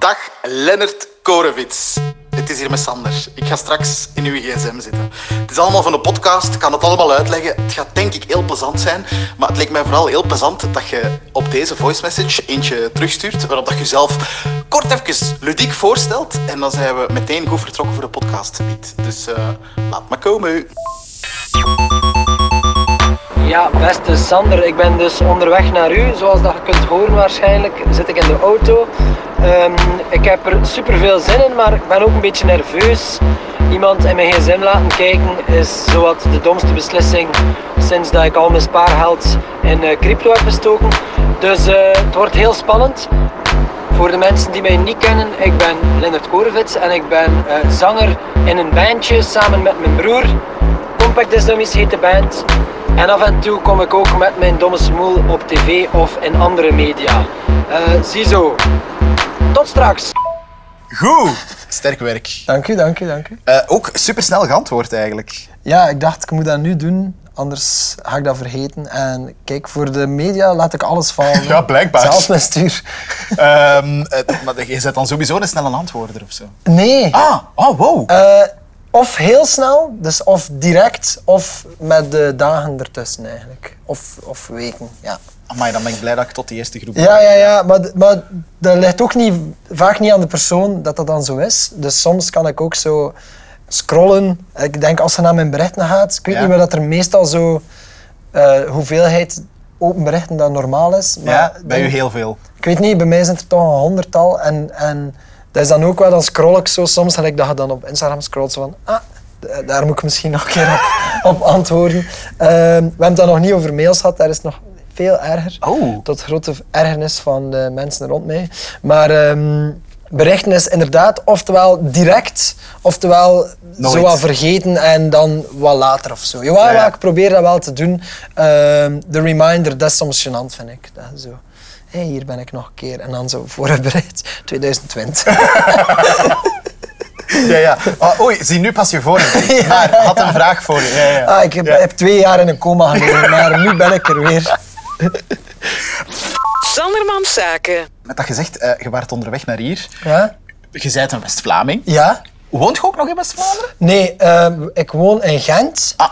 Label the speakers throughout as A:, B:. A: Dag, Lennart Korewits. Het is hier met Sander. Ik ga straks in uw gsm zitten. Het is allemaal van de podcast, ik kan het allemaal uitleggen. Het gaat denk ik heel plezant zijn, maar het leek mij vooral heel plezant dat je op deze voice message eentje terugstuurt, waarop dat je zelf kort even ludiek voorstelt. En dan zijn we meteen goed vertrokken voor de podcast. Piet. Dus eh, laat maar komen.
B: Ja, beste Sander, ik ben dus onderweg naar u. Zoals dat je kunt horen waarschijnlijk zit ik in de auto. Ehm, ik heb er super veel zin in, maar ik ben ook een beetje nerveus. Iemand in mijn gsm laten kijken is zowat de domste beslissing sinds dat ik al mijn spaargeld in eh, crypto heb bestoken. Dus eh, het wordt heel spannend. Voor de mensen die mij niet kennen, ik ben Leonard Korevits en ik ben eh, zanger in een bandje samen met mijn broer. Compact Islamisch heet de band. En af en toe kom ik ook met mijn domme smoel op tv of in andere media. Eh ziezo. Tot straks.
C: Goed.
A: Sterk werk.
C: Dank u, dank u, dank u.
A: Eh, ook supersnel geantwoord eigenlijk.
C: Ja, ik dacht, ik moet dat nu doen, anders ga ik dat vergeten. En kijk, voor de media laat ik alles vallen.
A: Ja, blijkbaar.
C: Zelfs mijn stuur.
A: Ehm, eh, maar je zet dan sowieso een snelle antwoorder of zo.
C: Nee.
A: Ah, oh wow.
C: Eh, of heel snel, dus of direct, of met de dagen ertussen eigenlijk. Of, of weken, ja.
A: Amai, dan ben ik blij dat ik tot die eerste groep
C: Ja,
A: behoor.
C: ja, ja, maar, d- maar dat ligt ook niet, vaak niet aan de persoon dat dat dan zo is. Dus soms kan ik ook zo scrollen. Ik denk als ze naar mijn berichten gaat, ik weet
A: Ja.
C: niet meer dat er meestal zo eh, hoeveelheid open berichten dat normaal is. Maar
A: Ja, bij u
C: dan-
A: heel veel.
C: Ik weet niet, bij mij zijn er toch een honderdtal. En, en dat is dan ook wel, dan scroll ik zo soms, gelijk dat je dan op Instagram scrollt, zo van, ah, d- daar moet ik misschien nog een keer op, op antwoorden. Ehm, we hebben het dan nog niet over mails gehad, daar is het nog veel erger.
A: Oh.
C: Tot grote ergernis van de mensen rond mij. Maar ehm, berichten is inderdaad oftewel direct, oftewel
A: Nooit.
C: zo wat vergeten en dan wat later of zo. Jawel,
A: Ja, ja.
C: maar ik probeer dat wel te doen. Ehm, de reminder, dat is soms gênant, vind ik. Dat is zo. Hé, hier ben ik nog een keer. En dan zo voorbereid. 2020.
A: Ja, ja. Ah, oei, zie nu pas je voor. Maar had een vraag voor je. Ja, ja.
C: Ah, ik heb,
A: Ja.
C: heb twee jaar in een coma gelegen, maar nu ben ik er weer.
D: Sandermans Zaken.
A: Met dat gezegd, eh, je waart onderweg naar hier.
C: Ja?
A: Je bent een West-Vlaming.
C: Ja?
A: Woont je ook nog in West-Vlaanderen?
C: Nee, ehm, ik woon in Gent.
A: Ah.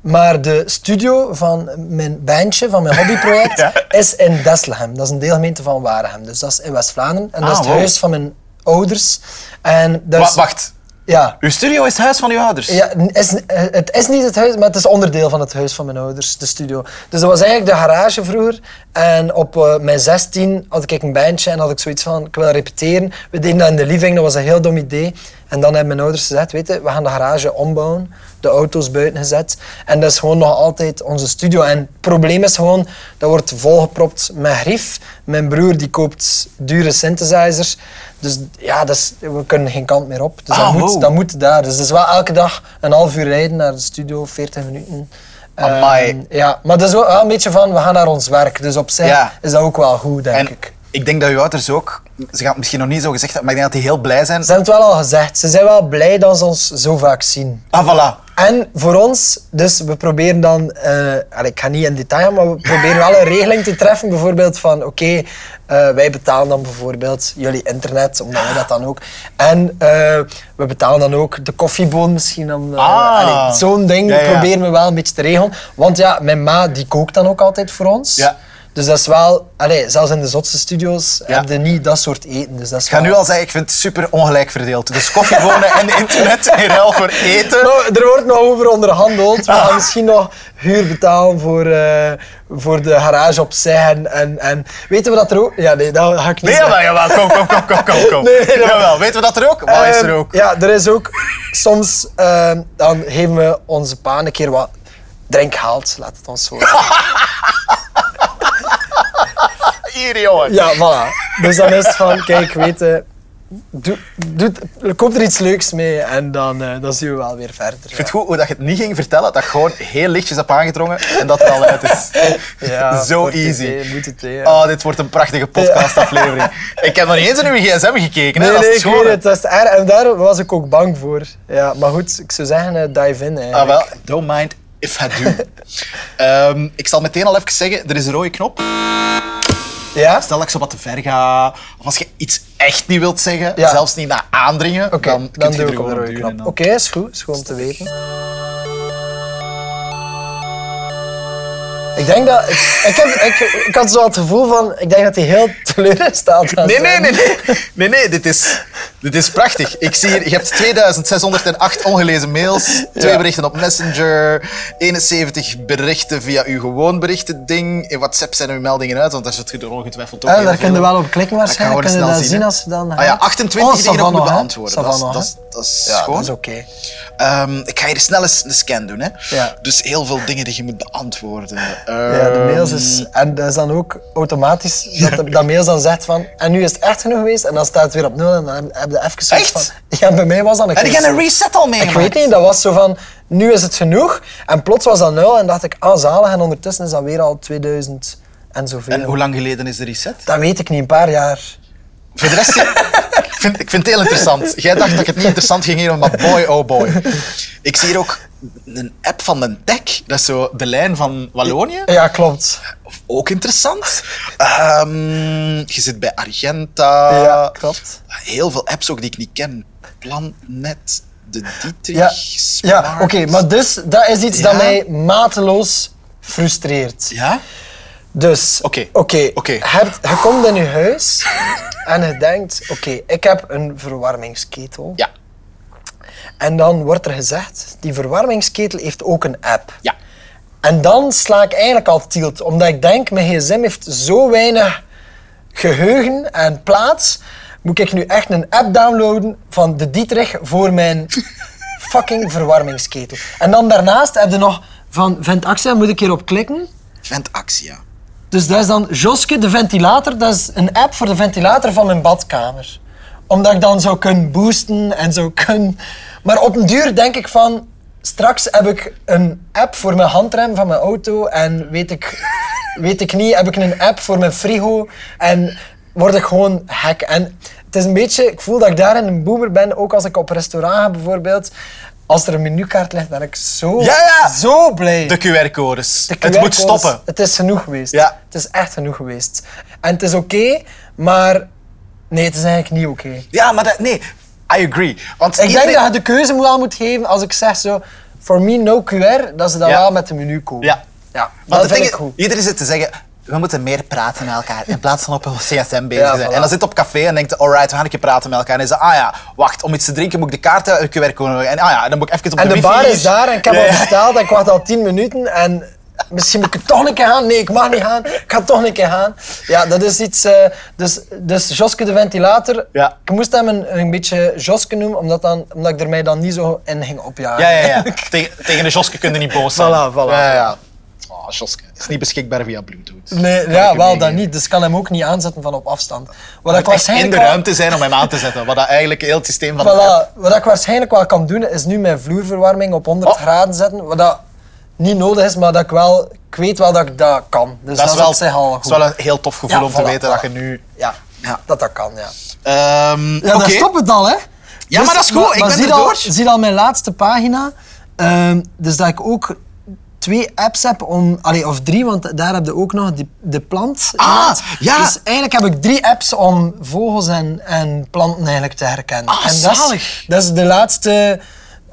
C: Maar de studio van mijn bandje, van mijn hobbyproject,
A: Ja.
C: is in Deslehem. Dat is een deelgemeente van Waregem. Dus dat is in West-Vlaanderen. En dat
A: Ah,
C: is het
A: wow.
C: huis van mijn ouders. En dat
A: Wa-
C: is-
A: wacht,
C: Ja.
A: uw studio is het huis van uw ouders?
C: Ja, n- is, eh, het is niet het huis, maar het is onderdeel van het huis van mijn ouders, de studio. Dus dat was eigenlijk de garage vroeger. En op eh, mijn 16 had ik een bandje en had ik zoiets van, ik wil repeteren. We deden dat in de living, dat was een heel dom idee. En dan hebben mijn ouders gezegd, weet je, we gaan de garage ombouwen. De auto's buiten gezet. En dat is gewoon nog altijd onze studio. En het probleem is gewoon, dat wordt volgepropt met grief. Mijn broer die koopt dure synthesizers. Dus ja, dat is, we kunnen geen kant meer op. Dus
A: Ah,
C: dat, moet,
A: wow.
C: dat moet daar. Dus het is wel elke dag een half uur rijden naar de studio, 40 minuten.
A: Amai.
C: Ehm, ja, maar dat is wel wel een beetje van, we gaan naar ons werk. Dus op zich
A: Ja.
C: is dat ook wel goed, denk
A: En
C: ik.
A: ik denk dat uw ouders ook, ze gaan het misschien nog niet zo gezegd hebben, maar ik denk dat die heel blij zijn.
C: Ze hebben het wel al gezegd. Ze zijn wel blij dat ze ons zo vaak zien.
A: Ah, voilà.
C: En voor ons, dus we proberen dan, eh, allee, ik ga niet in detail, maar we proberen wel een regeling te treffen. Bijvoorbeeld van, oké, eh, wij betalen dan bijvoorbeeld jullie internet, omdat wij dat dan ook. En eh, we betalen dan ook de koffieboon misschien. Dan, eh,
A: Ah.
C: allee, Zo'n ding
A: Ja, ja.
C: proberen we wel een beetje te regelen. Want ja, mijn ma die kookt dan ook altijd voor ons.
A: Ja.
C: Dus dat is wel, allee, zelfs in de zotste studio's
A: Ja.
C: heb je niet dat soort eten. Dus dat is
A: Ik ga
C: wel-
A: nu al zeggen, ik vind het super ongelijk verdeeld. Dus koffiebonen en internet in ruil voor eten.
C: Nou, er wordt nog over onderhandeld. We
A: Ah.
C: gaan misschien nog huur betalen voor, eh, voor de garage opzij. En, en, en weten we dat er ook... Ja, nee, dat ga ik niet
A: Nee,
C: zeggen.
A: jawel, jawel. Kom, kom, kom, kom, kom. kom.
C: Nee, nee, dat-
A: jawel, weten we dat er ook? Wat is er
C: Ehm,
A: ook?
C: Ja, er is ook... Soms ehm, dan geven we onze pa een keer wat drinkgeld, laat het ons zo zeggen. Ehm,
A: Hier, jongen.
C: Ja, voilà. Dus dan is het van, kijk, weten... Doe, doe, koop er iets leuks mee en dan, eh, dan zien we wel weer verder.
A: Ik vind het goed hoe dat je het niet ging vertellen, dat ik gewoon heel lichtjes heb aangedrongen en dat het al uit is.
C: Ja,
A: Zo
C: wordt het
A: easy.
C: idee, moet het, hè.
A: Oh, dit wordt een prachtige podcastaflevering. Ik heb nog niet eens in uw gsm gekeken.
C: Nee,
A: hè. dat
C: nee,
A: is
C: ik
A: gewoon.
C: weet het. Dat is het erg. En daar was ik ook bang voor. Ja, maar goed, ik zou zeggen, eh, dive in. eigenlijk.
A: Ah, wel. Don't mind if I do. Ehm, ik zal meteen al even zeggen, er is een rode knop.
E: Ja?
A: Stel dat ik zo wat te ver ga, of als je iets echt niet wilt zeggen,
E: Ja.
A: zelfs niet naar aandringen,
E: Oké,
A: dan, kun
E: dan,
A: je
E: doe
A: er
E: ik op
A: gewoon
E: de
A: op
E: rode
A: duwen en
E: knop.
A: dan-
E: Oké, is goed. Is goed om te weten. Ik denk dat... Ik, ik, heb, ik, ik had zo het gevoel van... Ik denk dat hij heel teleurgesteld was.
A: Nee, nee, nee, nee. Nee, nee, dit is, dit is prachtig. Ik zie hier, je hebt 2608 ongelezen mails, twee berichten op Messenger, 71 berichten via uw gewoon berichten ding. In WhatsApp zijn uw meldingen uit, want daar zit je er ongetwijfeld ook
E: Ah,
A: heel
E: daar
A: veel
E: kun je
A: op.
E: wel op klikken
A: Dat kan
E: waarschijnlijk.
A: gewoon
E: Kun je
A: snel
E: dat zien,
A: zien, hè.
E: als je dan... Oh,
A: Ah ja, 28 die je nog moet
E: Savannah, hè.
A: beantwoorden. Dat is,
E: Savannah,
A: dat is, dat is
E: Ja,
A: schoon.
E: dat is oké.
A: Ehm, ik ga hier snel eens een scan doen. Hè.
E: Ja.
A: Dus heel veel dingen die je moet beantwoorden.
E: Ja, de
A: Ehm,
E: mails is... En dat is dan ook automatisch dat, de- dat mails dan zegt van... En nu is het echt genoeg geweest. En dan staat het weer op nul en dan heb- heb je even zoiets
A: Echt?
E: van... Ja, bij mij was dat een
A: Heb
E: keer
A: je
E: zo.
A: een reset al mee?
E: Ik weet niet, dat was zo van, nu is het genoeg. En plots was dat nul en dacht ik, ah zalig. En ondertussen is dat weer al 2000 en zoveel.
A: En hoe lang geleden is de reset?
E: Dat weet ik niet, een paar jaar.
A: Voor de rest, ik vind, ik vind het heel interessant. Jij dacht dat ik het niet interessant ging hier, maar boy, oh boy. Ik zie hier ook een app van de tech. Dat is zo de lijn van Wallonië.
E: Ja, klopt.
A: Ook interessant. Ehm, je zit bij Argenta.
E: ja, klopt.
A: Heel veel apps ook die ik niet ken. Plannet, de Dietrich,
E: Ja,
A: Smart.
E: ja oké. maar dus, dat is iets dat
A: Ja.
E: mij mateloos frustreert.
A: Ja?
E: Dus,
A: Oké. Oké.
E: hebt- je komt in je huis en je denkt, oké, ik heb een verwarmingsketel.
A: Ja.
E: En dan wordt er gezegd, die verwarmingsketel heeft ook een app.
A: Ja.
E: En dan sla ik eigenlijk al tilt, omdat ik denk, mijn gsm heeft zo weinig geheugen en plaats. Moet ik nu echt een app downloaden van de Dietrich voor mijn fucking verwarmingsketel. En dan daarnaast heb je nog van Vent Axia, moet ik hierop klikken?
A: Vent Axia.
E: Dus dat is dan Joske, de ventilator. Dat is een app voor de ventilator van mijn badkamer. Omdat ik dan zou kunnen boosten en zou kunnen... Maar op een duur denk ik van... Straks heb ik een app voor mijn handrem van mijn auto en weet ik, weet ik niet, heb ik een app voor mijn frigo en word ik gewoon hack. En het is een beetje, ik voel dat ik daarin een boomer ben, ook als ik op restaurant ga bijvoorbeeld. Als er een menukaart ligt, ben ik zo,
A: Ja, ja.
E: zo blij.
A: De QR-codes.
E: De
A: Het moet
E: QR-codes,
A: stoppen.
E: Het is genoeg geweest.
A: Ja.
E: Het is echt genoeg geweest. En het is oké, maar nee, het is eigenlijk niet oké.
A: Ja, maar dat, nee, I agree. Want
E: Ik denk
A: iedereen-
E: dat je de keuze moet aan moet geven als ik zeg zo, for me no QR, dat ze dan
A: Ja.
E: wel met de menu komen.
A: Ja.
E: ja
A: Want
E: dat
A: het
E: vind
A: ding
E: ik
A: is,
E: goed.
A: iedereen zit te zeggen, we moeten meer praten met elkaar in plaats van op een CSM bezig
E: Ja,
A: zijn.
E: voilà.
A: En dan zit je op café en denkt, alright, we gaan een keer praten met elkaar. En dan is het, ah ja, wacht, om iets te drinken moet ik de kaart uit de QR-code gooien. En ah ja, dan moet ik even op de
E: En de
A: wifi
E: bar is
A: hier.
E: daar en ik heb
A: Ja,
E: al
A: ja.
E: besteld en ik wacht al tien minuten en misschien moet ik toch een keer gaan. Nee, ik mag niet gaan. Ik ga toch een keer gaan. Ja, dat is iets... eh, dus, dus Joske de ventilator,
A: Ja.
E: ik moest hem een, een beetje Joske noemen, omdat, dan, omdat ik er mij dan niet zo in ging opjagen.
A: Ja, ja, ja. Tegen, tegen de Joske kun je niet boos zijn.
E: Voilà, voilà.
A: Ja, ja. Oh, Joske. Is niet beschikbaar via Bluetooth.
E: Nee,
A: Kan
E: ja,
A: ik u
E: wel dat
A: meegeven.
E: niet. Dus ik kan hem ook niet aanzetten van op afstand. Wat
A: Het
E: ik
A: moet echt in
E: waarschijnlijk
A: de
E: wel-
A: ruimte zijn om hem aan te zetten. Wat dat eigenlijk heel het systeem van de app-
E: Voilà, wat ik waarschijnlijk wel kan doen, is nu mijn vloerverwarming op 100
A: Oh.
E: graden zetten. Wat dat niet nodig is, maar dat ik wel... Ik weet wel dat ik dat kan. Dus dat,
A: Dat is wel,
E: op zich al
A: dat
E: goed.
A: is wel een heel tof gevoel
E: Ja,
A: om te
E: voilà,
A: weten
E: voilà.
A: dat je nu...
E: Ja,
A: Ja.
E: dat dat kan, ja.
A: Ehm,
E: Ja, dan
A: oké.
E: stopt het al, hè. Dus
A: Ja, maar dat is goed. Ik ben
E: zie
A: er
E: al-
A: door.
E: Zie al mijn laatste pagina. Ehm, dus dat ik ook twee apps heb om... Allee, of drie, want daar heb je ook nog die, de plant.
A: Ah, ja.
E: Dus eigenlijk heb ik drie apps om vogels en, en planten eigenlijk te herkennen.
A: Ah,
E: en dat is-
A: zalig.
E: Dat is de laatste...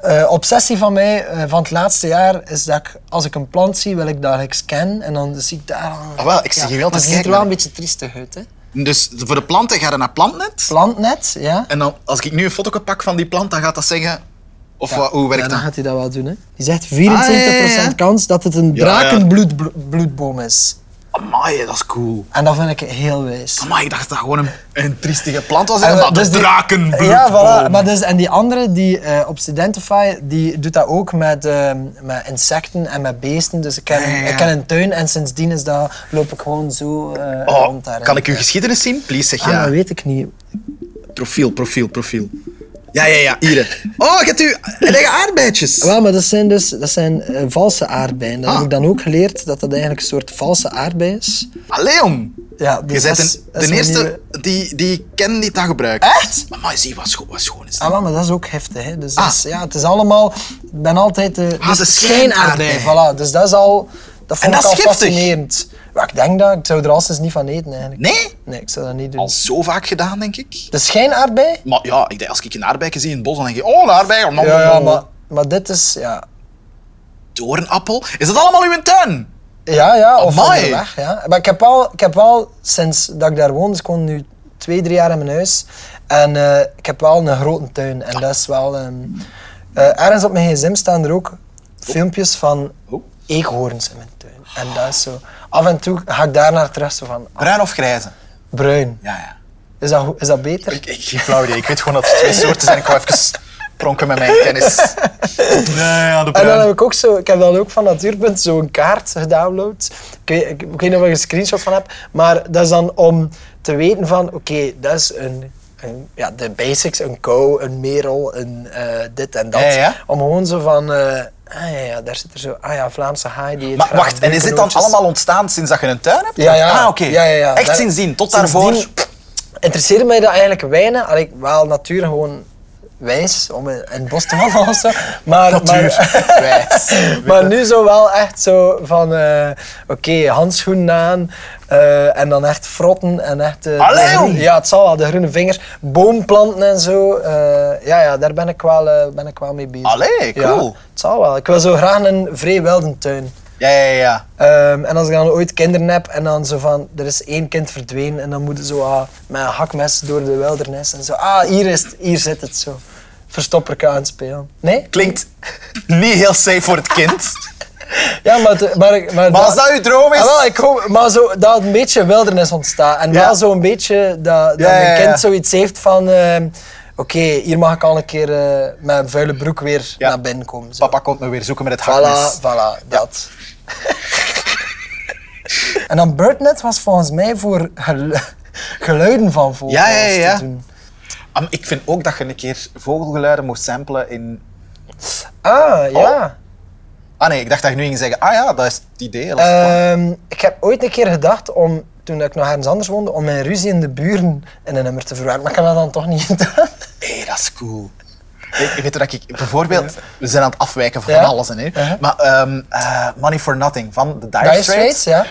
E: eh, obsessie van mij eh, van het laatste jaar is dat ik, als ik een plant zie, wil ik dat ik scan en dan zie ik daar.
A: Ah, wel, ik zie hier wel
E: maar
A: te
E: Ze ziet er
A: kijken
E: wel
A: naar.
E: een beetje triestig uit, hè?
A: Dus voor de planten ga je naar plantnet.
E: Plantnet, ja.
A: En dan, als ik nu een foto pak van die plant, dan gaat dat zeggen... Of wat, hoe werkt
E: Ja, dan
A: dat?
E: gaat hij dat wel doen. Hè? Die zegt 24%
A: Ah, ja, ja, ja.
E: kans dat het een
A: Ja, ja.
E: drakenbloedboom is.
A: Amai, dat is cool.
E: En dat vind ik heel wijs.
A: Amai, ik dacht dat dat gewoon een, een triestige plant was. En dus
E: En
A: dat
E: we-
A: de
E: dus
A: Oh.
E: die-
A: drakenbloedboom.
E: Ja, voilà. Maar dus, en die andere die, eh, op Studentify, die doet dat ook met, ehm, met insecten en met beesten. Dus ik ken,
A: Ja, ja, ja.
E: ik ken een tuin en sindsdien is dat, loop ik gewoon zo eh,
A: Oh,
E: rond daarin.
A: kan ik uw geschiedenis zien? Please, zeg
E: Ah,
A: ja.
E: dat weet ik niet.
A: Profiel, profiel, profiel. Ja, ja, ja, hier. hè. Oh, je hebt u eigen aardbeidjes.
E: Wel, maar dat zijn dus dat zijn, eh, valse aardbeien. Dat
A: Ah.
E: heb ik dan ook geleerd, dat dat eigenlijk een soort valse aardbei is.
A: Allee, jong.
E: Ja, dus
A: Je
E: dat
A: bent
E: is-
A: een-
E: dat is
A: de
E: mijn
A: eerste
E: nieuwe-
A: die, die ik ken die dat gebruikt.
E: Echt?
A: Amai, zie, wat, scho wat schoon is dat.
E: Ah, wel, maar dat is ook heftig. Hè. Dus dat
A: Ah.
E: is- ja, het is allemaal... Ik ben altijd... eh, dus de
A: de schijnaardbei.
E: Voilà, dus dat is al... Dat vond
A: Ah, En dat
E: ik
A: is
E: al
A: giftig.
E: fascinerend. Maar ik denk dat, ik zou er al sinds niet van eten eigenlijk.
A: Nee?
E: Nee, ik zou dat niet doen.
A: Al zo vaak gedaan, denk ik.
E: Dat is geen aardbei?
A: Maar ja, ik denk, als ik een aardbei zie in het bos, dan denk ik, oh, een aardbei. om, om,
E: Ja, ja,
A: om.
E: maar, maar dit is, ja.
A: Doornappel? Is dat allemaal uw tuin?
E: Ja, ja, of
A: Amai.
E: onderweg. Ja. Maar ik heb, al, ik heb al, sinds dat ik daar woon, dus ik woon nu twee, drie jaar in mijn huis. En eh, ik heb wel een grote tuin. En dat is wel... ehm, eh, ergens op mijn gsm staan er ook filmpjes van
A: Oh.
E: eekhoorns in mijn tuin. En dat is zo... Af en toe ga ik daar naar terug zo van...
A: Bruin of grijze?
E: Bruin.
A: Ja, ja.
E: Is dat, goed- is dat beter?
A: Ik, ik, geen flauw idee. Ik weet gewoon dat er twee soorten zijn. Ik ga even pronken met mijn kennis. Ja, ja, de
E: En dan
A: bruin.
E: heb ik ook zo, ik heb dan ook van Natuurpunt zo'n kaart gedownload. Ik weet, ik, ik weet niet of ik een screenshot van heb, maar dat is dan om te weten van, oké, dat is een, een- ja, de basics, een kou, een merel, een eh, dit en dat.
A: Ja, ja.
E: Om gewoon zo van, eh, ah ja, ja, daar zit er zo, ah ja, Vlaamse haai die eet
A: Maar
E: graag
A: wacht, en is dit dan
E: bloemknootjes.
A: allemaal ontstaan sinds dat je een tuin hebt?
E: Ja, ja.
A: Ah, oké.
E: Ja, ja, ja.
A: Echt
E: Daar-
A: sindsdien, tot
E: sindsdien
A: daarvoor.
E: Interesseerde mij dat eigenlijk weinig. Allee, wel natuur gewoon wijs om in in het bos te wandelen of zo. Maar,
A: Natuur.
E: Maar,
A: Wijs.
E: maar nu zo wel echt zo van, eh, oké, handschoenen aan eh, en dan echt frotten en echt... eh, de
A: Allee,
E: groen-
A: jong.
E: ja, het zal wel, de groene vingers, boomplanten en zo. eh, ja, ja, daar ben ik wel, eh, ben ik wel mee bezig.
A: Allee, cool.
E: Ja, het zal wel. Ik wil zo graag een vrij wilde tuin.
A: Ja, ja, ja.
E: Ehm, en als ik dan ooit kinderen heb en dan zo van, er is één kind verdwenen en dan moeten ze zo ah, met een hakmes door de wildernis en zo, ah, hier, is het, hier zit het zo. Verstopperken aan het spelen. Nee?
A: Klinkt niet heel safe voor het kind.
E: Ja, maar... het- maar, maar,
A: Maar als dat uw droom is...
E: Ah, wel, ik hoop, maar zo, dat het een beetje wildernis ontstaat. En
A: Ja.
E: wel zo'n beetje dat, dat
A: Ja, ja,
E: mijn
A: ja.
E: kind zoiets heeft van... ehm, Oké, hier mag ik al een keer eh, met een vuile broek weer
A: Ja.
E: naar binnen komen. Zo.
A: Papa komt me weer zoeken met het hakmes.
E: Voilà, voilà, dat. en dan BirdNet was volgens mij voor gelu- geluiden van vogels
A: Ja, ja, ja, ja.
E: te doen.
A: Am, Ik vind ook dat je een keer vogelgeluiden moest samplen in... Oh.
E: Ah, ja.
A: Ah nee, ik dacht dat je nu ging zeggen, ah ja, dat is het idee. dat is het plan.
E: Ehm, ik heb ooit een keer gedacht om, toen ik nog ergens anders woonde, om mijn ruzie in de buren in een nummer te verwerken. Maar ik heb dat dan toch niet gedaan.
A: Hé, dat is cool. Ik weet je dat ik bijvoorbeeld, we zijn aan het afwijken van
E: Ja?
A: alles en hè.
E: Uh-huh.
A: Maar ehm, eh, Money for Nothing van de Dire,
E: Dire
A: Straits.
E: Straits, ja.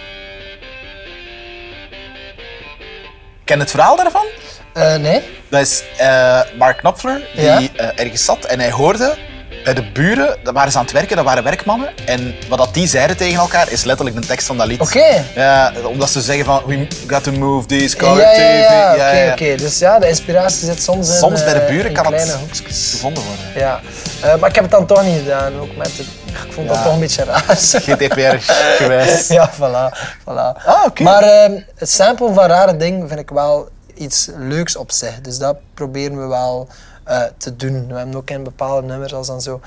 A: Ken je het verhaal daarvan?
E: Eh, nee.
A: Dat is eh, Mark Knopfler die
E: Ja.
A: eh, ergens zat en hij hoorde bij de buren, dat waren ze aan het werken, dat waren werkmannen. En wat dat die zeiden tegen elkaar is letterlijk de tekst van dat lied.
E: Oké.
A: Ja, omdat ze zeggen van, we got to move this car
E: ja,
A: TV.
E: ja, ja. Oké,
A: Ja, ja.
E: oké. Dus ja, de inspiratie zit soms in
A: Soms bij de
E: eh,
A: buren
E: in
A: kan
E: kleine
A: het
E: hoekjes.
A: gevonden worden.
E: Ja. Eh, maar ik heb het dan toch niet gedaan, ook met het... Ik vond
A: Ja.
E: dat toch een beetje raar.
A: GDPR gewijs.
E: Ja, voilà. voilà.
A: Ah, oké.
E: Maar ehm, het samplen van rare dingen vind ik wel iets leuks op zich. Dus dat proberen we wel eh, te doen. We hebben ook in bepaalde nummers, als dan zo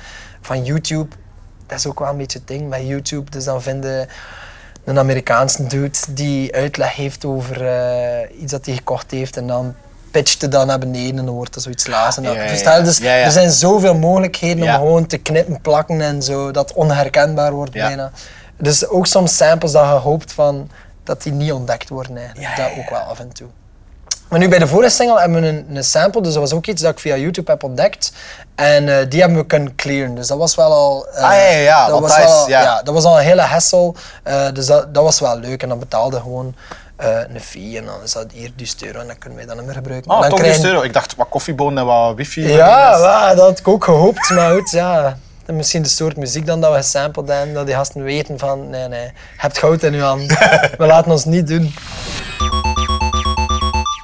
E: van YouTube. Dat is ook wel een beetje het ding met YouTube. Dus dan vinden een Amerikaanse dude die uitleg heeft over eh, iets dat hij gekocht heeft en dan pitcht het dan naar beneden en dan wordt er zoiets laas. En dat,
A: Ja, ja,
E: Verstaan?
A: ja.
E: Dus
A: Ja, ja.
E: er zijn zoveel mogelijkheden
A: Ja.
E: om gewoon te knippen, plakken en zo, dat het onherkenbaar wordt
A: Ja.
E: bijna. Dus ook soms samples dat je hoopt van dat die niet ontdekt worden eigenlijk.
A: Ja, ja,
E: Dat ook wel af en toe. Maar nu bij de vorige single hebben we een, een sample, dus dat was ook iets dat ik via YouTube heb ontdekt. En eh, die hebben we kunnen clearen, dus dat was wel al... eh,
A: Ah, ja, ja, ja,
E: Dat
A: want
E: was
A: dat is-
E: al,
A: ja.
E: ja, dat was al een hele hassle, eh, dus dat, dat was wel leuk. En dan betaalde gewoon eh, een fee en dan is dat hier 1000 euro en dan kunnen wij dat nummer gebruiken.
A: Ah,
E: dan
A: toch
E: krijgen-
A: 10 euro. Ik dacht, wat koffiebonen en wat wifi.
E: ja, wa, dat had ik ook gehoopt, maar goed, ja. En misschien de soort muziek dan dat we gesampled hebben, dat die gasten weten van, nee, nee, je hebt goud in je hand. We laten ons niet doen.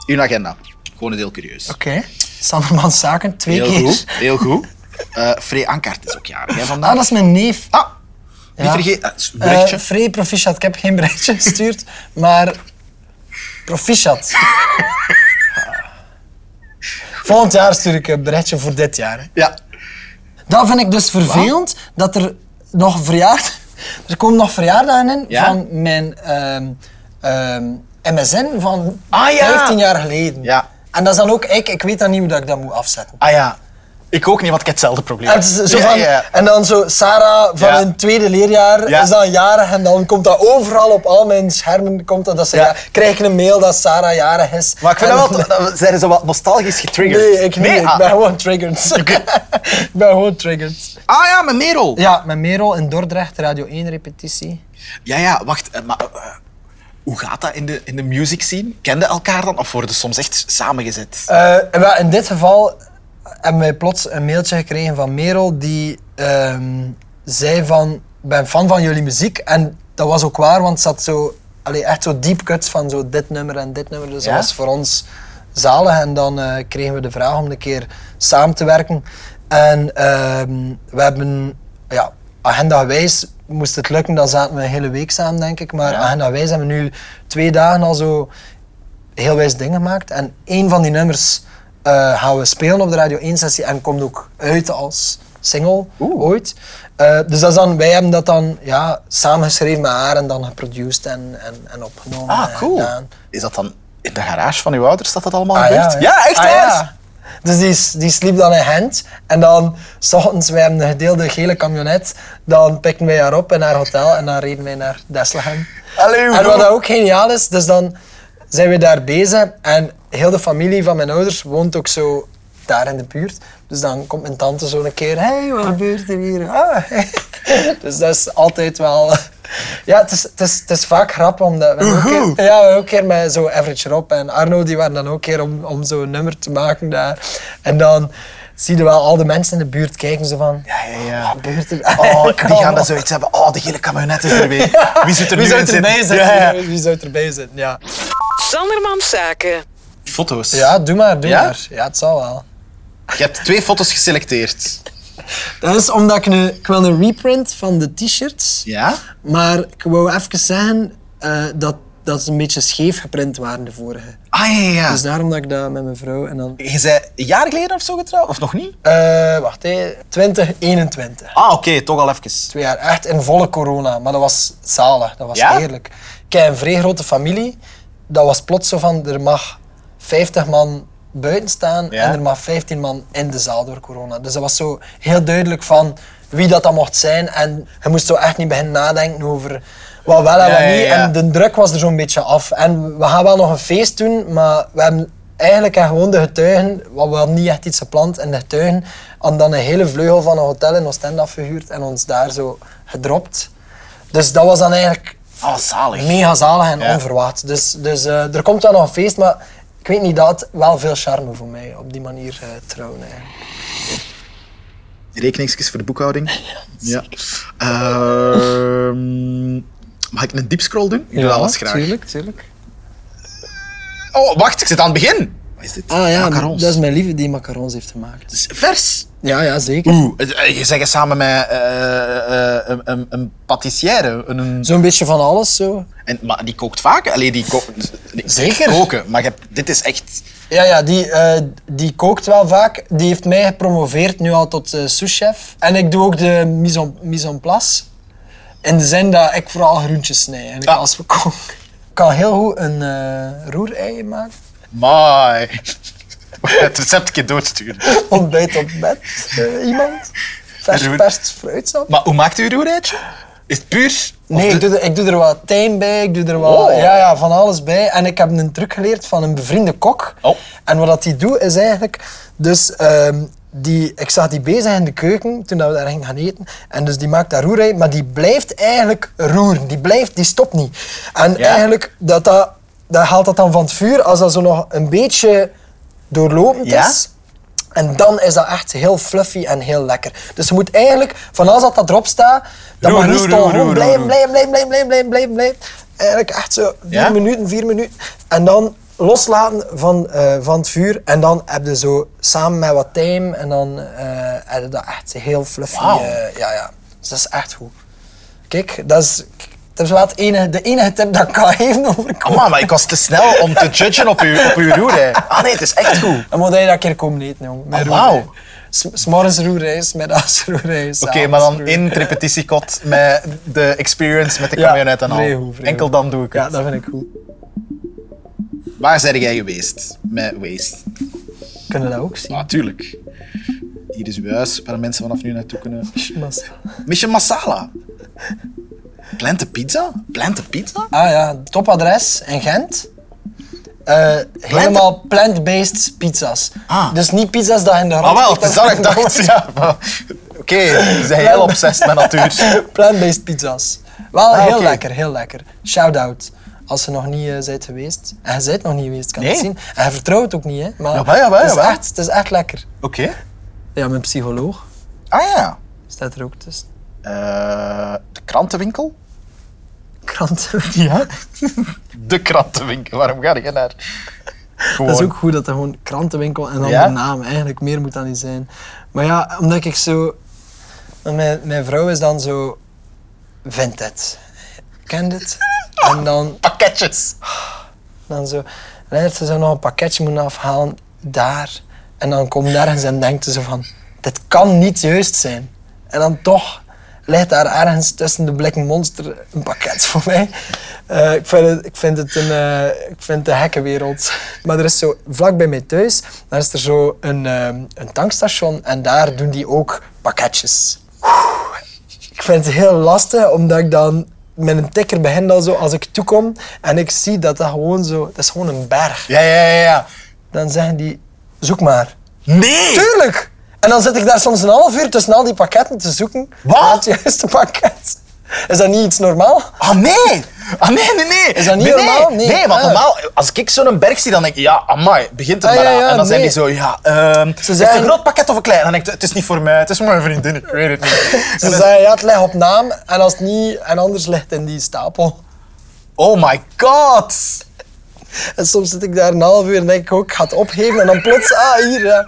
A: Uw agenda. Gewoon een deel curieus.
E: Oké. Sandermans Zaken, twee
A: Heel
E: keer.
A: goed. Heel goed. Eh Free Ankaart is ook jarig hè, vandaag.
E: Ah, dat is mijn neef.
A: Ah, niet
E: Ja.
A: vergeten. eh, s-
E: Eh,
A: berichtje.
E: Free proficiat. Ik heb geen berichtje gestuurd, maar proficiat. Volgend jaar stuur ik een berichtje voor dit jaar. hè.
A: ja.
E: Dat vind ik dus vervelend, dat er nog verjaard... Er komen nog verjaardagen in
A: Ja?
E: van mijn ehm, ehm, MSN van
A: Ah, ja.
E: 15 jaar geleden.
A: Ja.
E: En dat is dan ook ik, ik weet dan niet hoe dat ik dat moet afzetten.
A: Ah ja. Ik ook niet, want ik heb hetzelfde probleem. eh,
E: En, het is zo
A: Ja,
E: van,
A: ja, ja.
E: en dan zo, Sarah van
A: Ja.
E: hun tweede leerjaar
A: Ja.
E: is dan jarig en dan komt dat overal op al mijn schermen, komt dat, dat ze,
A: Ja.
E: ja, krijg ik een mail dat Sarah jarig is.
A: Maar ik vind
E: En-
A: dat wel... dat we- Zijn ze zo wat nostalgisch getriggerd?
E: Nee, ik, niet. ik
A: ah.
E: ben gewoon triggered. ik ben gewoon triggered.
A: ah ja, mijn Merel.
E: Ja, met Merel in Dordrecht, Radio 1 repetitie.
A: Ja, ja, wacht. eh, maar, eh, Hoe gaat dat in de, in de music scene? Kenden elkaar dan of worden ze soms echt samengezet?
E: Eh, wel, in dit geval hebben wij plots een mailtje gekregen van Merel die ehm, zei van, ik ben fan van jullie muziek. En dat was ook waar, want ze had zo, allee, echt zo deep cuts van zo dit nummer en dit nummer. Dus
A: Ja?
E: dat was voor ons zalig. En dan eh, kregen we de vraag om een keer samen te werken. En ehm, we hebben, ja, agenda-wijs moest het lukken, dan zaten we een hele week samen, denk ik. Maar
A: Ja.
E: agenda-wijs hebben we nu twee dagen al zo heel wijs ding gemaakt. En één van die nummers eh, gaan we spelen op de Radio 1-sessie en komt ook uit als single
A: Oeh.
E: ooit. Eh, dus dat is dan, wij hebben dat dan ja, samengeschreven met haar en dan geproduced en, en, en opgenomen.
A: Ah,
E: en
A: cool.
E: gedaan.
A: Is dat dan in de garage van uw ouders dat dat allemaal
E: Ah,
A: gebeurt?
E: hè?
A: echt
E: Ah,
A: waar?
E: ja. Dus die, s- die sliep dan in Gent. En dan, s ochtends, wij hebben een gedeelde gele camionet. Dan pikten wij haar op in haar hotel en dan reden wij naar Deslegem.
A: Allee, hoe
E: En wat
A: goed.
E: dat ook geniaal is, dus dan zijn we daar bezig. En heel de familie van mijn ouders woont ook zo daar in de buurt. Dus dan komt mijn tante zo een keer, hé, hey, wat gebeurt er hier? Ah, Dus dat is altijd wel... Ja, het is, het is, het is vaak grappig, omdat we hebben ook keer, ja, we hebben ook een keer met zo Average Rob en Arno, die waren dan ook een keer om, om zo'n nummer te maken daar. En dan zie je wel al de mensen in de buurt kijken zo van...
A: Ja, ja, ja.
E: Wat gebeurt er?
A: Oh,
E: Kom
A: die gaan
E: op.
A: dan zoiets hebben. Oh, de gele camionet is er weer. Wie zit er nu
E: Wie zou
A: in
E: erbij
A: zitten?
E: zitten?
A: Ja, ja.
E: Wie zou erbij zitten, ja.
D: Sandermans Zaken.
A: Foto's.
E: Ja, doe maar, doe
A: Ja?
E: maar. Ja, het zal wel.
A: Je hebt twee foto's geselecteerd.
E: Dat is omdat ik, nu, ik wil een reprint van de t-shirts.
A: Ja?
E: Maar ik wou even zeggen eh, dat, dat ze een beetje scheef geprint waren, de vorige.
A: Ah, ja, ja, ja.
E: Dus daarom dat ik dat met mijn vrouw en dan...
A: Je zei een jaar geleden of zo getrouwd? Of nog niet?
E: Eh, wacht, hé. 2021.
A: Ah, oké. toch al even.
E: Twee jaar echt in volle corona. Maar dat was zalig, dat was
A: Ja?
E: heerlijk. Ik heb een vrij grote familie. Dat was plots zo van, er mag 50 man buiten staan
A: Ja?
E: en er mag 15 man in de zaal door corona. Dus dat was zo heel duidelijk van wie dat dan mocht zijn. En je moest zo echt niet beginnen nadenken over wat wel en
A: Ja,
E: wat
A: ja,
E: niet.
A: ja.
E: En de druk was er zo'n beetje af. En we gaan wel nog een feest doen, maar we hebben eigenlijk aan gewoon de getuigen, wat we hadden niet echt iets gepland, en de getuigen hadden dan een hele vleugel van een hotel in Oostende afgehuurd en ons daar zo gedropt. Dus dat was dan eigenlijk
A: Ah, zalig.
E: mega zalig en
A: Ja.
E: onverwacht. Dus, dus eh, er komt wel nog een feest, maar ik weet niet, dat had wel veel charme voor mij, op die manier eh, trouwen. eigenlijk.
A: Rekeningsjes voor de boekhouding. ja. Ehm, mag ik een diepscroll doen? Ik doe alles graag.
E: Tuurlijk, tuurlijk.
A: Oh, wacht. Ik zit aan het begin. Wat is dit?
E: Ah ja,
A: Macarons.
E: dat is mijn lieve die macarons heeft gemaakt.
A: Dat is vers.
E: Ja, ja, zeker.
A: Oeh, het- eh, je zegt het samen met eh, eh, een, een, een patissière. Een, een-
E: Zo'n beetje van alles zo.
A: en, maar die kookt vaak? Allee, die kookt...
E: Zeker.
A: Koken, maar je hebt- dit is echt...
E: Ja, ja die, eh, die kookt wel vaak. Die heeft mij gepromoveerd nu al tot eh souschef. En ik doe ook de mise en- mise en place. In de zin dat ik vooral groentjes snij eigenlijk,
A: Ja.
E: als we koken. Ik kan heel goed een eh roerei maken.
A: Maai. Het receptje doorsturen.
E: Ontbijt op bed, eh, iemand. Vers
A: Roer-
E: perst fruitsap.
A: Maar hoe maakt u uw roerijtje? Is het puur? Of
E: Nee,
A: de-
E: ik doe, er, ik doe er wat tijm bij, ik doe er wat,
A: Oh.
E: ja, ja, van alles bij. En ik heb een truc geleerd van een bevriende kok.
A: Oh.
E: En wat dat die doet is eigenlijk... Dus ehm, die, ik zag die bezig in de keuken toen dat we daar gingen gaan eten. En dus die maakt daar roerij, maar die blijft eigenlijk roeren. Die blijft, die stopt niet. En
A: Ja.
E: eigenlijk, dat, dat, dat haalt dat dan van het vuur als dat zo nog een beetje doorlopend
A: Ja?
E: is. En dan is dat echt heel fluffy en heel lekker. Dus je moet eigenlijk, van alles dat dat erop staat, dat
A: Roer,
E: mag niet
A: roer,
E: staan.
A: roer,
E: Gewoon
A: roer,
E: blijven,
A: roer.
E: blijven, blijven, blijven, blijven, blijven, blijven, blijven. Eigenlijk echt zo vier
A: Ja?
E: minuten, vier minuten. En dan loslaten van, eh, van het vuur. En dan heb je zo samen met wat tijm en dan eh, heb je dat echt heel fluffy.
A: Wauw.
E: eh, ja, ja. Dus dat is echt goed. Kijk, dat is, dat is wel het enige, de enige tip dat ik kan geven over koken.
A: Amai, maar ik was te snel om te judgen op uw, op uw roerij. Ah nee, het is echt goed. Oké,
E: Dan moet je dat een keer komen eten, jong. Met
A: Ah,
E: roerij.
A: wauw.
E: S- S'morgens roerrijs, middags roerrijs.
A: maar dan in het repetitiekot met de experience met de
E: Ja,
A: camionet en al.
E: vrij goed, vrij
A: Enkel
E: goed.
A: dan doe ik het.
E: Ja, dat vind ik goed.
A: Waar zijn jij geweest met Waste?
E: Kunnen dat ook zien.
A: Ah, Natuurlijk. Hier is uw huis waar mensen vanaf nu naartoe kunnen.
E: Mas-
A: Mission Masala. Plante pizza? Plante pizza?
E: Ah ja, topadres in Gent. Eh, helemaal plant-based pizza's.
A: Ah.
E: Dus niet pizza's dat in de hand
A: Ah wel, het is dat ik dacht. Ja, maar- Oké, ze zijn heel obsessed met natuur.
E: Plant-based pizza's. Wel
A: Ah,
E: heel
A: oké.
E: lekker, heel lekker. Shout-out als je nog niet eh bent geweest. En je bent nog niet geweest, kan je
A: Nee.
E: het zien. En je vertrouwt het ook niet, hè. Maar
A: Jawel, jawel,
E: het, is
A: jawel.
E: echt, het is echt lekker.
A: Oké.
E: Ja, mijn psycholoog
A: Ah ja.
E: staat er ook tussen.
A: Eh, de krantenwinkel?
E: Kranten.
A: Ja. De krantenwinkel, waarom ga je naar? Gewoon.
E: Dat is ook goed dat er gewoon krantenwinkel en dan
A: Ja?
E: de naam eigenlijk meer moet dan die zijn. Maar ja, omdat ik zo. want Mijn, mijn vrouw is dan zo. Vindt het. Kent het. En dan,
A: Pakketjes.
E: dan zo. Leidert ze zo nog een pakketje moeten afhalen daar. En dan komt ergens en denkt ze zo van. Dit kan niet juist zijn. En dan toch ligt daar ergens tussen de blikken monster een pakket voor mij. Eh, ik, vind het, ik vind het een eh, ik vind het een gekke wereld. Maar er is zo, vlak bij mij thuis, daar is er zo een, ehm, een tankstation en daar doen die ook pakketjes. Oeh. Ik vind het heel lastig, omdat ik dan met een tikker begin al zo als ik toekom en ik zie dat dat gewoon zo, dat is gewoon een berg.
A: Ja, ja, ja, ja.
E: Dan zeggen die, zoek maar.
A: Nee!
E: Tuurlijk! En dan zit ik daar soms een half uur tussen al die pakketten te zoeken.
A: Wat?
E: naar Het juiste pakket. Is dat niet iets normaal?
A: Ah nee! Ah nee, nee, nee!
E: Is dat niet
A: nee, nee.
E: normaal? Nee.
A: Nee, want
E: Ah.
A: normaal, als ik zo'n berg zie, dan denk ik, ja, amai, begint het
E: Ah,
A: maar
E: ja,
A: aan.
E: ja,
A: en dan zijn
E: nee.
A: die zo, ja, ehm Ze
E: zijn-
A: een groot pakket of een klein? Dan denk ik, het is niet voor mij, het is voor mijn vriendin, ik weet het niet.
E: Ze zei ja, het ligt op naam en als het niet, en anders ligt het in die stapel.
A: Oh my god!
E: En soms zit ik daar een half uur en denk ik ook, ik ga het opgeven en dan plots, ah hier. Ja,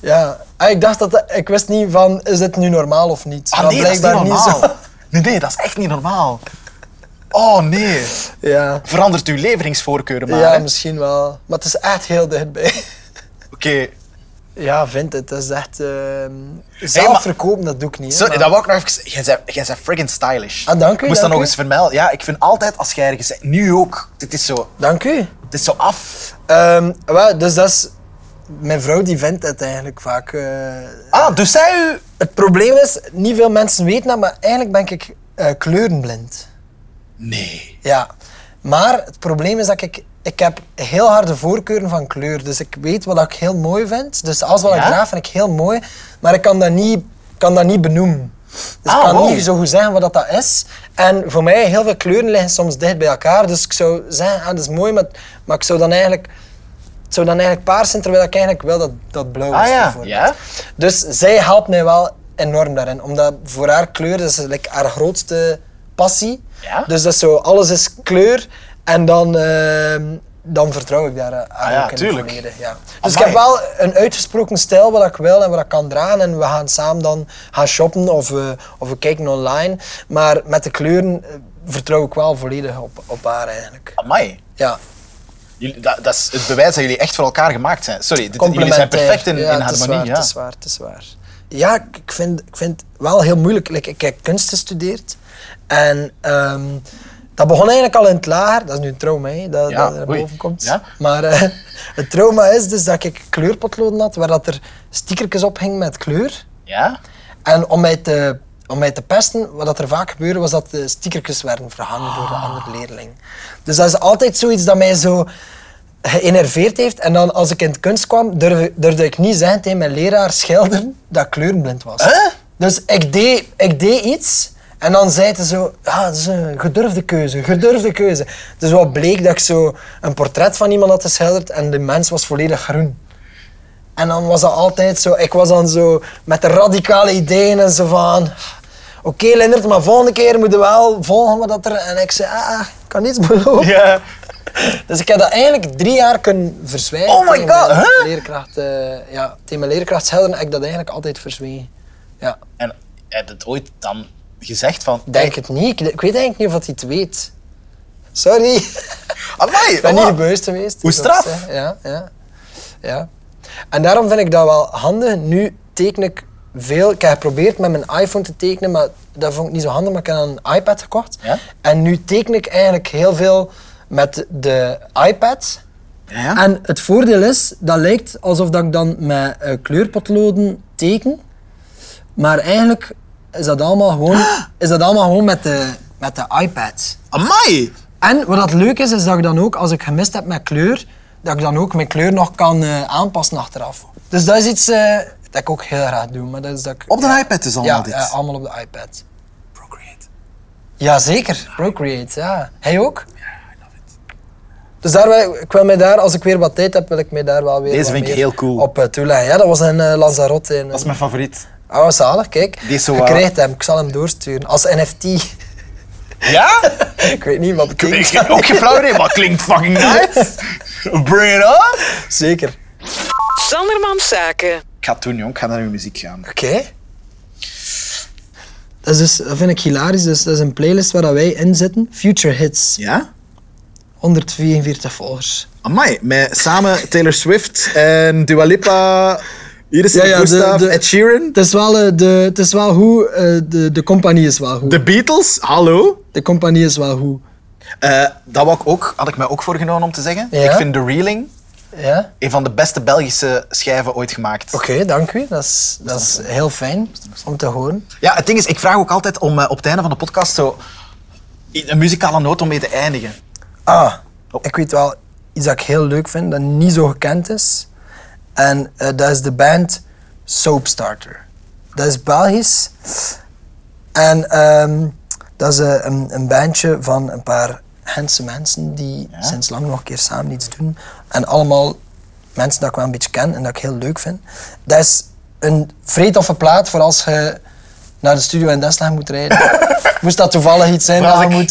E: ja. Ah, ik dacht dat, dat- ik wist niet van, is dit nu normaal of niet?
A: Ah
E: Maar
A: nee, dat is niet
E: blijkbaar
A: normaal.
E: zo.
A: Nee, nee, dat is echt niet normaal. Oh nee.
E: Ja.
A: Verandert uw leveringsvoorkeuren maar.
E: ja,
A: hè.
E: misschien wel. Maar het is echt heel dichtbij.
A: Oké,
E: Ja, vind het. Dat is echt... ehm zelf verkopen, dat doe ik niet. hè,
A: sorry,
E: maar-
A: dat wou ik nog even... Jij zei- Jij bent friggin stylish.
E: Ah, dank u,
A: Ik Moest dat
E: dank
A: nog
E: u.
A: eens vermelden. Ja, ik vind altijd als jij ergens... bent- Nu ook. Dit is zo...
E: Dank u.
A: Dit is zo af.
E: Ehm, wel, dus dat is... Mijn vrouw die vindt het eigenlijk vaak. eh.
A: Ah, dus zij u...
E: Het probleem is, niet veel mensen weten dat, maar eigenlijk ben ik eh, kleurenblind.
A: Nee.
E: Ja. Maar het probleem is dat ik... Ik heb heel harde voorkeuren van kleur, dus ik weet wat ik heel mooi vind. Dus alles wat
A: Ja?
E: ik draag vind ik heel mooi, maar ik kan dat niet, kan dat niet benoemen. Dus
A: Ah,
E: ik kan
A: wow.
E: niet zo goed zeggen wat dat dat is. En voor mij, heel veel kleuren liggen soms dicht bij elkaar. Dus ik zou zeggen, ah, dat is mooi, maar, maar ik zou dan eigenlijk... Het zou dan eigenlijk paars zijn, terwijl ik eigenlijk wel dat, dat blauw is.
A: Ah ja.
E: bijvoorbeeld.
A: Ja?
E: Dus zij helpt mij wel enorm daarin. Omdat voor haar kleur dat is like, haar grootste passie.
A: Ja.
E: Dus dat is zo, alles is kleur. En dan, ehm, dan vertrouw ik daar eh, haar
A: Ah ja,
E: ook in
A: tuurlijk.
E: volledig, Ja. Dus
A: Amai.
E: ik heb wel een uitgesproken stijl wat ik wil en wat ik kan dragen. En we gaan samen dan gaan shoppen of, we- of we kijken online. Maar met de kleuren eh, vertrouw ik wel volledig op, op haar eigenlijk.
A: Amai.
E: Ja.
A: Jullie, dat, dat is het bewijs dat jullie echt voor elkaar gemaakt zijn. Sorry, dit, jullie zijn
E: Complementair.
A: perfect in,
E: ja,
A: in
E: het is
A: harmonie.
E: Waar, Het is waar, het is waar. Ja, ik ik vind, ik vind het wel heel moeilijk. Like, ik heb kunst gestudeerd en ehm, dat begon eigenlijk al in het lager. Dat is nu een trauma, hè, dat,
A: Ja,
E: dat er
A: oei.
E: boven komt.
A: Ja.
E: Maar eh, het trauma is dus dat ik kleurpotloden had waar dat er stickertjes op hingen met kleur.
A: ja?
E: En om mij te, om mij te pesten, wat dat er vaak gebeurde, was dat de stickertjes werden verhangen door de andere leerling. Dus dat is altijd zoiets dat mij zo geënerveerd heeft. En dan als ik in het kunst kwam, durf- durfde ik niet zeggen tegen mijn leraar schilderen dat ik kleurenblind was. Dus ik deed, ik deed iets en dan zei ze zo, ja, dat is een gedurfde keuze, gedurfde keuze. Dus wat bleek dat ik zo een portret van iemand had geschilderd en de mens was volledig groen. En dan was dat altijd zo, ik was dan zo met de radicale ideeën en zo van... Oké, Lindert, maar volgende keer moeten we wel volgen wat dat er... En ik zei, ah, ik kan niets beloven.
A: Ja.
E: Dus ik heb dat eigenlijk drie jaar kunnen verzwijgen.
A: Oh my
E: Tegen mijn
A: God, hè?
E: Leerkracht, eh, ja, tegen mijn leerkracht Helder heb ik dat eigenlijk altijd verzwegen. Ja,
A: En heb je het ooit dan gezegd van...
E: denk het niet. Ik, ik weet eigenlijk niet of dat hij het weet. Sorry.
A: Amai,
E: Ik ben
A: voilà.
E: niet bewust geweest.
A: Hoe
E: dus dat is,
A: straf.
E: hè. Ja, ja, ja. En daarom vind ik dat wel handig. Nu teken ik veel. Ik heb geprobeerd met mijn iPhone te tekenen, maar dat vond ik niet zo handig. Maar ik heb dan een iPad gekocht.
A: Ja?
E: En nu teken ik eigenlijk heel veel met de iPad.
A: Ja?
E: En het voordeel is, dat lijkt alsof dat ik dan met eh, kleurpotloden teken. Maar eigenlijk is dat allemaal gewoon,
A: Ah!
E: is dat allemaal gewoon met, de, met de iPad.
A: Amai!
E: En wat dat leuk is, is dat ik dan ook, als ik gemist heb met kleur, dat ik dan ook mijn kleur nog kan eh, aanpassen achteraf. Dus dat is iets eh, dat ik ook heel graag doe. Maar dat is dat ik,
A: Op de iPad is allemaal
E: ja,
A: dit.
E: ja, allemaal op de iPad. Procreate. Jazeker, Procreate, ja. Hij ook? Ja, I love Dus daar, wil- ik wil mij daar, als ik weer wat tijd heb, wil ik mij daar wel weer
A: Deze
E: wat
A: vind ik
E: meer
A: heel cool.
E: op eh, toeleggen. Ja, dat was in eh, Lanzarote. In,
A: Dat is mijn favoriet.
E: Ah, wat zalig, kijk.
A: Die is zo
E: je
A: wat-
E: krijgt hem, ik zal hem doorsturen. Als NFT.
A: Ja?
E: ik weet niet wat betekent
A: Ik
E: dat.
A: heb ook geen flauw idee, maar het klinkt fucking nice. Bring it on.
E: Zeker.
D: Sandermans Zaken.
A: Ik ga het doen, jong. Ik ga naar uw muziek gaan.
E: Oké. Dat, is dus, dat vind ik hilarisch. Dus, dat is een playlist waar dat wij in zitten. Future Hits.
A: Ja?
E: 144 volgers.
A: Amai, met samen Taylor Swift en Dua Lipa, Iris
E: Ja,
A: en
E: ja, de-
A: Gustav,
E: de-
A: Ed Sheeran.
E: Het is wel, eh, de, het is wel hoe eh, de, de compagnie is wel goed.
A: De Beatles, hallo.
E: De compagnie is wel goed.
A: Eh, dat wou ik ook, had ik mij ook voorgenomen om te zeggen.
E: Ja?
A: Ik vind The Reeling
E: Ja?
A: een van de beste Belgische schijven ooit gemaakt.
E: Oké, dank u. Dat is, dat is heel fijn om te horen.
A: Ja, het ding is, ik vraag ook altijd om eh, op het einde van de podcast zo i- een muzikale noot om mee te eindigen.
E: Ah,
A: Oh.
E: ik weet wel iets dat ik heel leuk vind, dat niet zo gekend is. En eh, dat is de band Soapstarter. Dat is Belgisch. En ehm, dat is eh, een, een bandje van een paar Gentse mensen die sinds lang nog een keer samen iets doen. En allemaal mensen dat ik wel een beetje ken en dat ik heel leuk vind. Dat is een vrij toffe plaat voor als je naar de studio in Desla moet rijden. Moest dat toevallig iets zijn dat
A: als
E: je
A: ik-
E: moet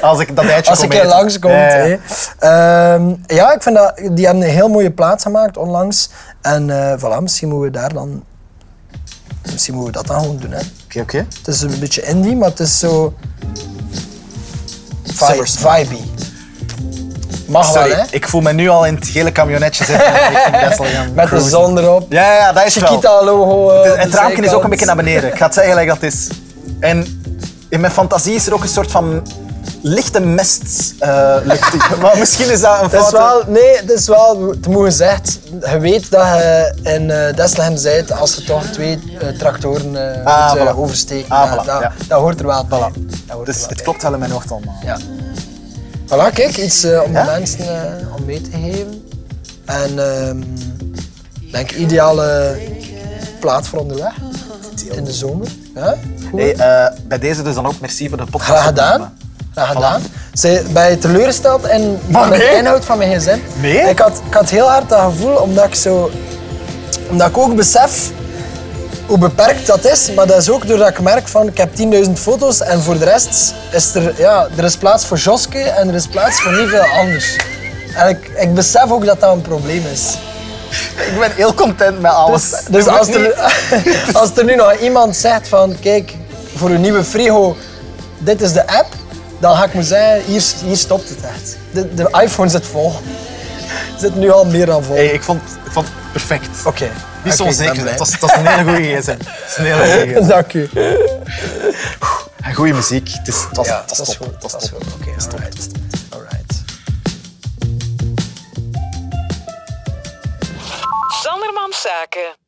A: Als ik dat eitje
E: Nou, Als
A: kom
E: ik hier
A: eten.
E: langskomt.
A: Ja, ja.
E: hè. Ehm, ja, ik vind dat... Die hebben een heel mooie plaat gemaakt onlangs. En eh voilà, misschien moeten we daar dan... Misschien moeten we dat dan gewoon doen, hè.
A: Oké, oké.
E: Het is een beetje indie, maar het is zo... vi- Vibey. Mag
A: Sorry,
E: Ah, wel, hè.
A: ik voel me nu al in het gele kamionetje zitten. richting Bessel gaan
E: Met de
A: cruisen.
E: zon erop.
A: Ja, ja, dat is wel.
E: Chiquita-logo. eh, op
A: Het,
E: de
A: het raampje is ook een
E: zijkant.
A: beetje naar beneden. Ik ga het zeggen gelijk dat het is. En in mijn fantasie is er ook een soort van lichte mest. eh, lucht. maar misschien is dat een
E: Het is
A: fout.
E: wel, nee, het is wel, het moet gezegd, je weet dat je in eh Deslegem zijt als je toch twee eh, tractoren eh
A: Ah,
E: moet eh,
A: voilà.
E: oversteken.
A: Ah,
E: Ja,
A: voilà,
E: dat,
A: ja.
E: dat hoort er wel bij. Dat hoort
A: Dus
E: er
A: het
E: wel
A: klopt wel in mijn hoofd allemaal.
E: bij. Ja. Voilà, kijk, iets eh, om
A: Ja?
E: de mensen eh, om mee te geven. En ehm, ik denk ideale plaat voor onderweg in de zomer. Ja? Goed.
A: Hey, eh, bij deze dus dan ook merci voor de podcast.
E: Graag gedaan. Graag gedaan. Zij, ben je teleurgesteld en
A: Maar
E: met de
A: Oh, nee.
E: inhoud van mijn gsm?
A: Nee.
E: Ik had, ik had heel hard dat gevoel, omdat ik zo... Omdat ik ook besef hoe beperkt dat is, maar dat is ook doordat ik merk van ik heb 10.000 foto's en voor de rest is er, ja, er is plaats voor Joske en er is plaats voor niet veel anders. En ik, ik besef ook dat dat een probleem is.
A: Ik ben heel content met alles.
E: Dus, dus
A: Je moet
E: als,
A: niet-
E: er, als er nu nog iemand zegt van kijk, voor uw nieuwe frigo, dit is de app, dan ga ik maar zeggen, hier, hier stopt het echt. De, de iPhone zit vol. Zit nu al meer dan vol.
A: Hey, ik, vond, ik vond het perfect.
E: Oké.
A: Niet zo
E: Oké, ik ben
A: onzeker.
E: blij.
A: Het was, het was een hele goede gsm. Het is een hele goede gsm.
E: Dank u.
A: En goede muziek. Het, is, het was,
E: Ja,
A: het was
E: dat is
A: top.
E: goed.
A: Het was
E: Dat is
A: top.
E: goed. Oké, alright. Alright.
D: Sandermans Zaken.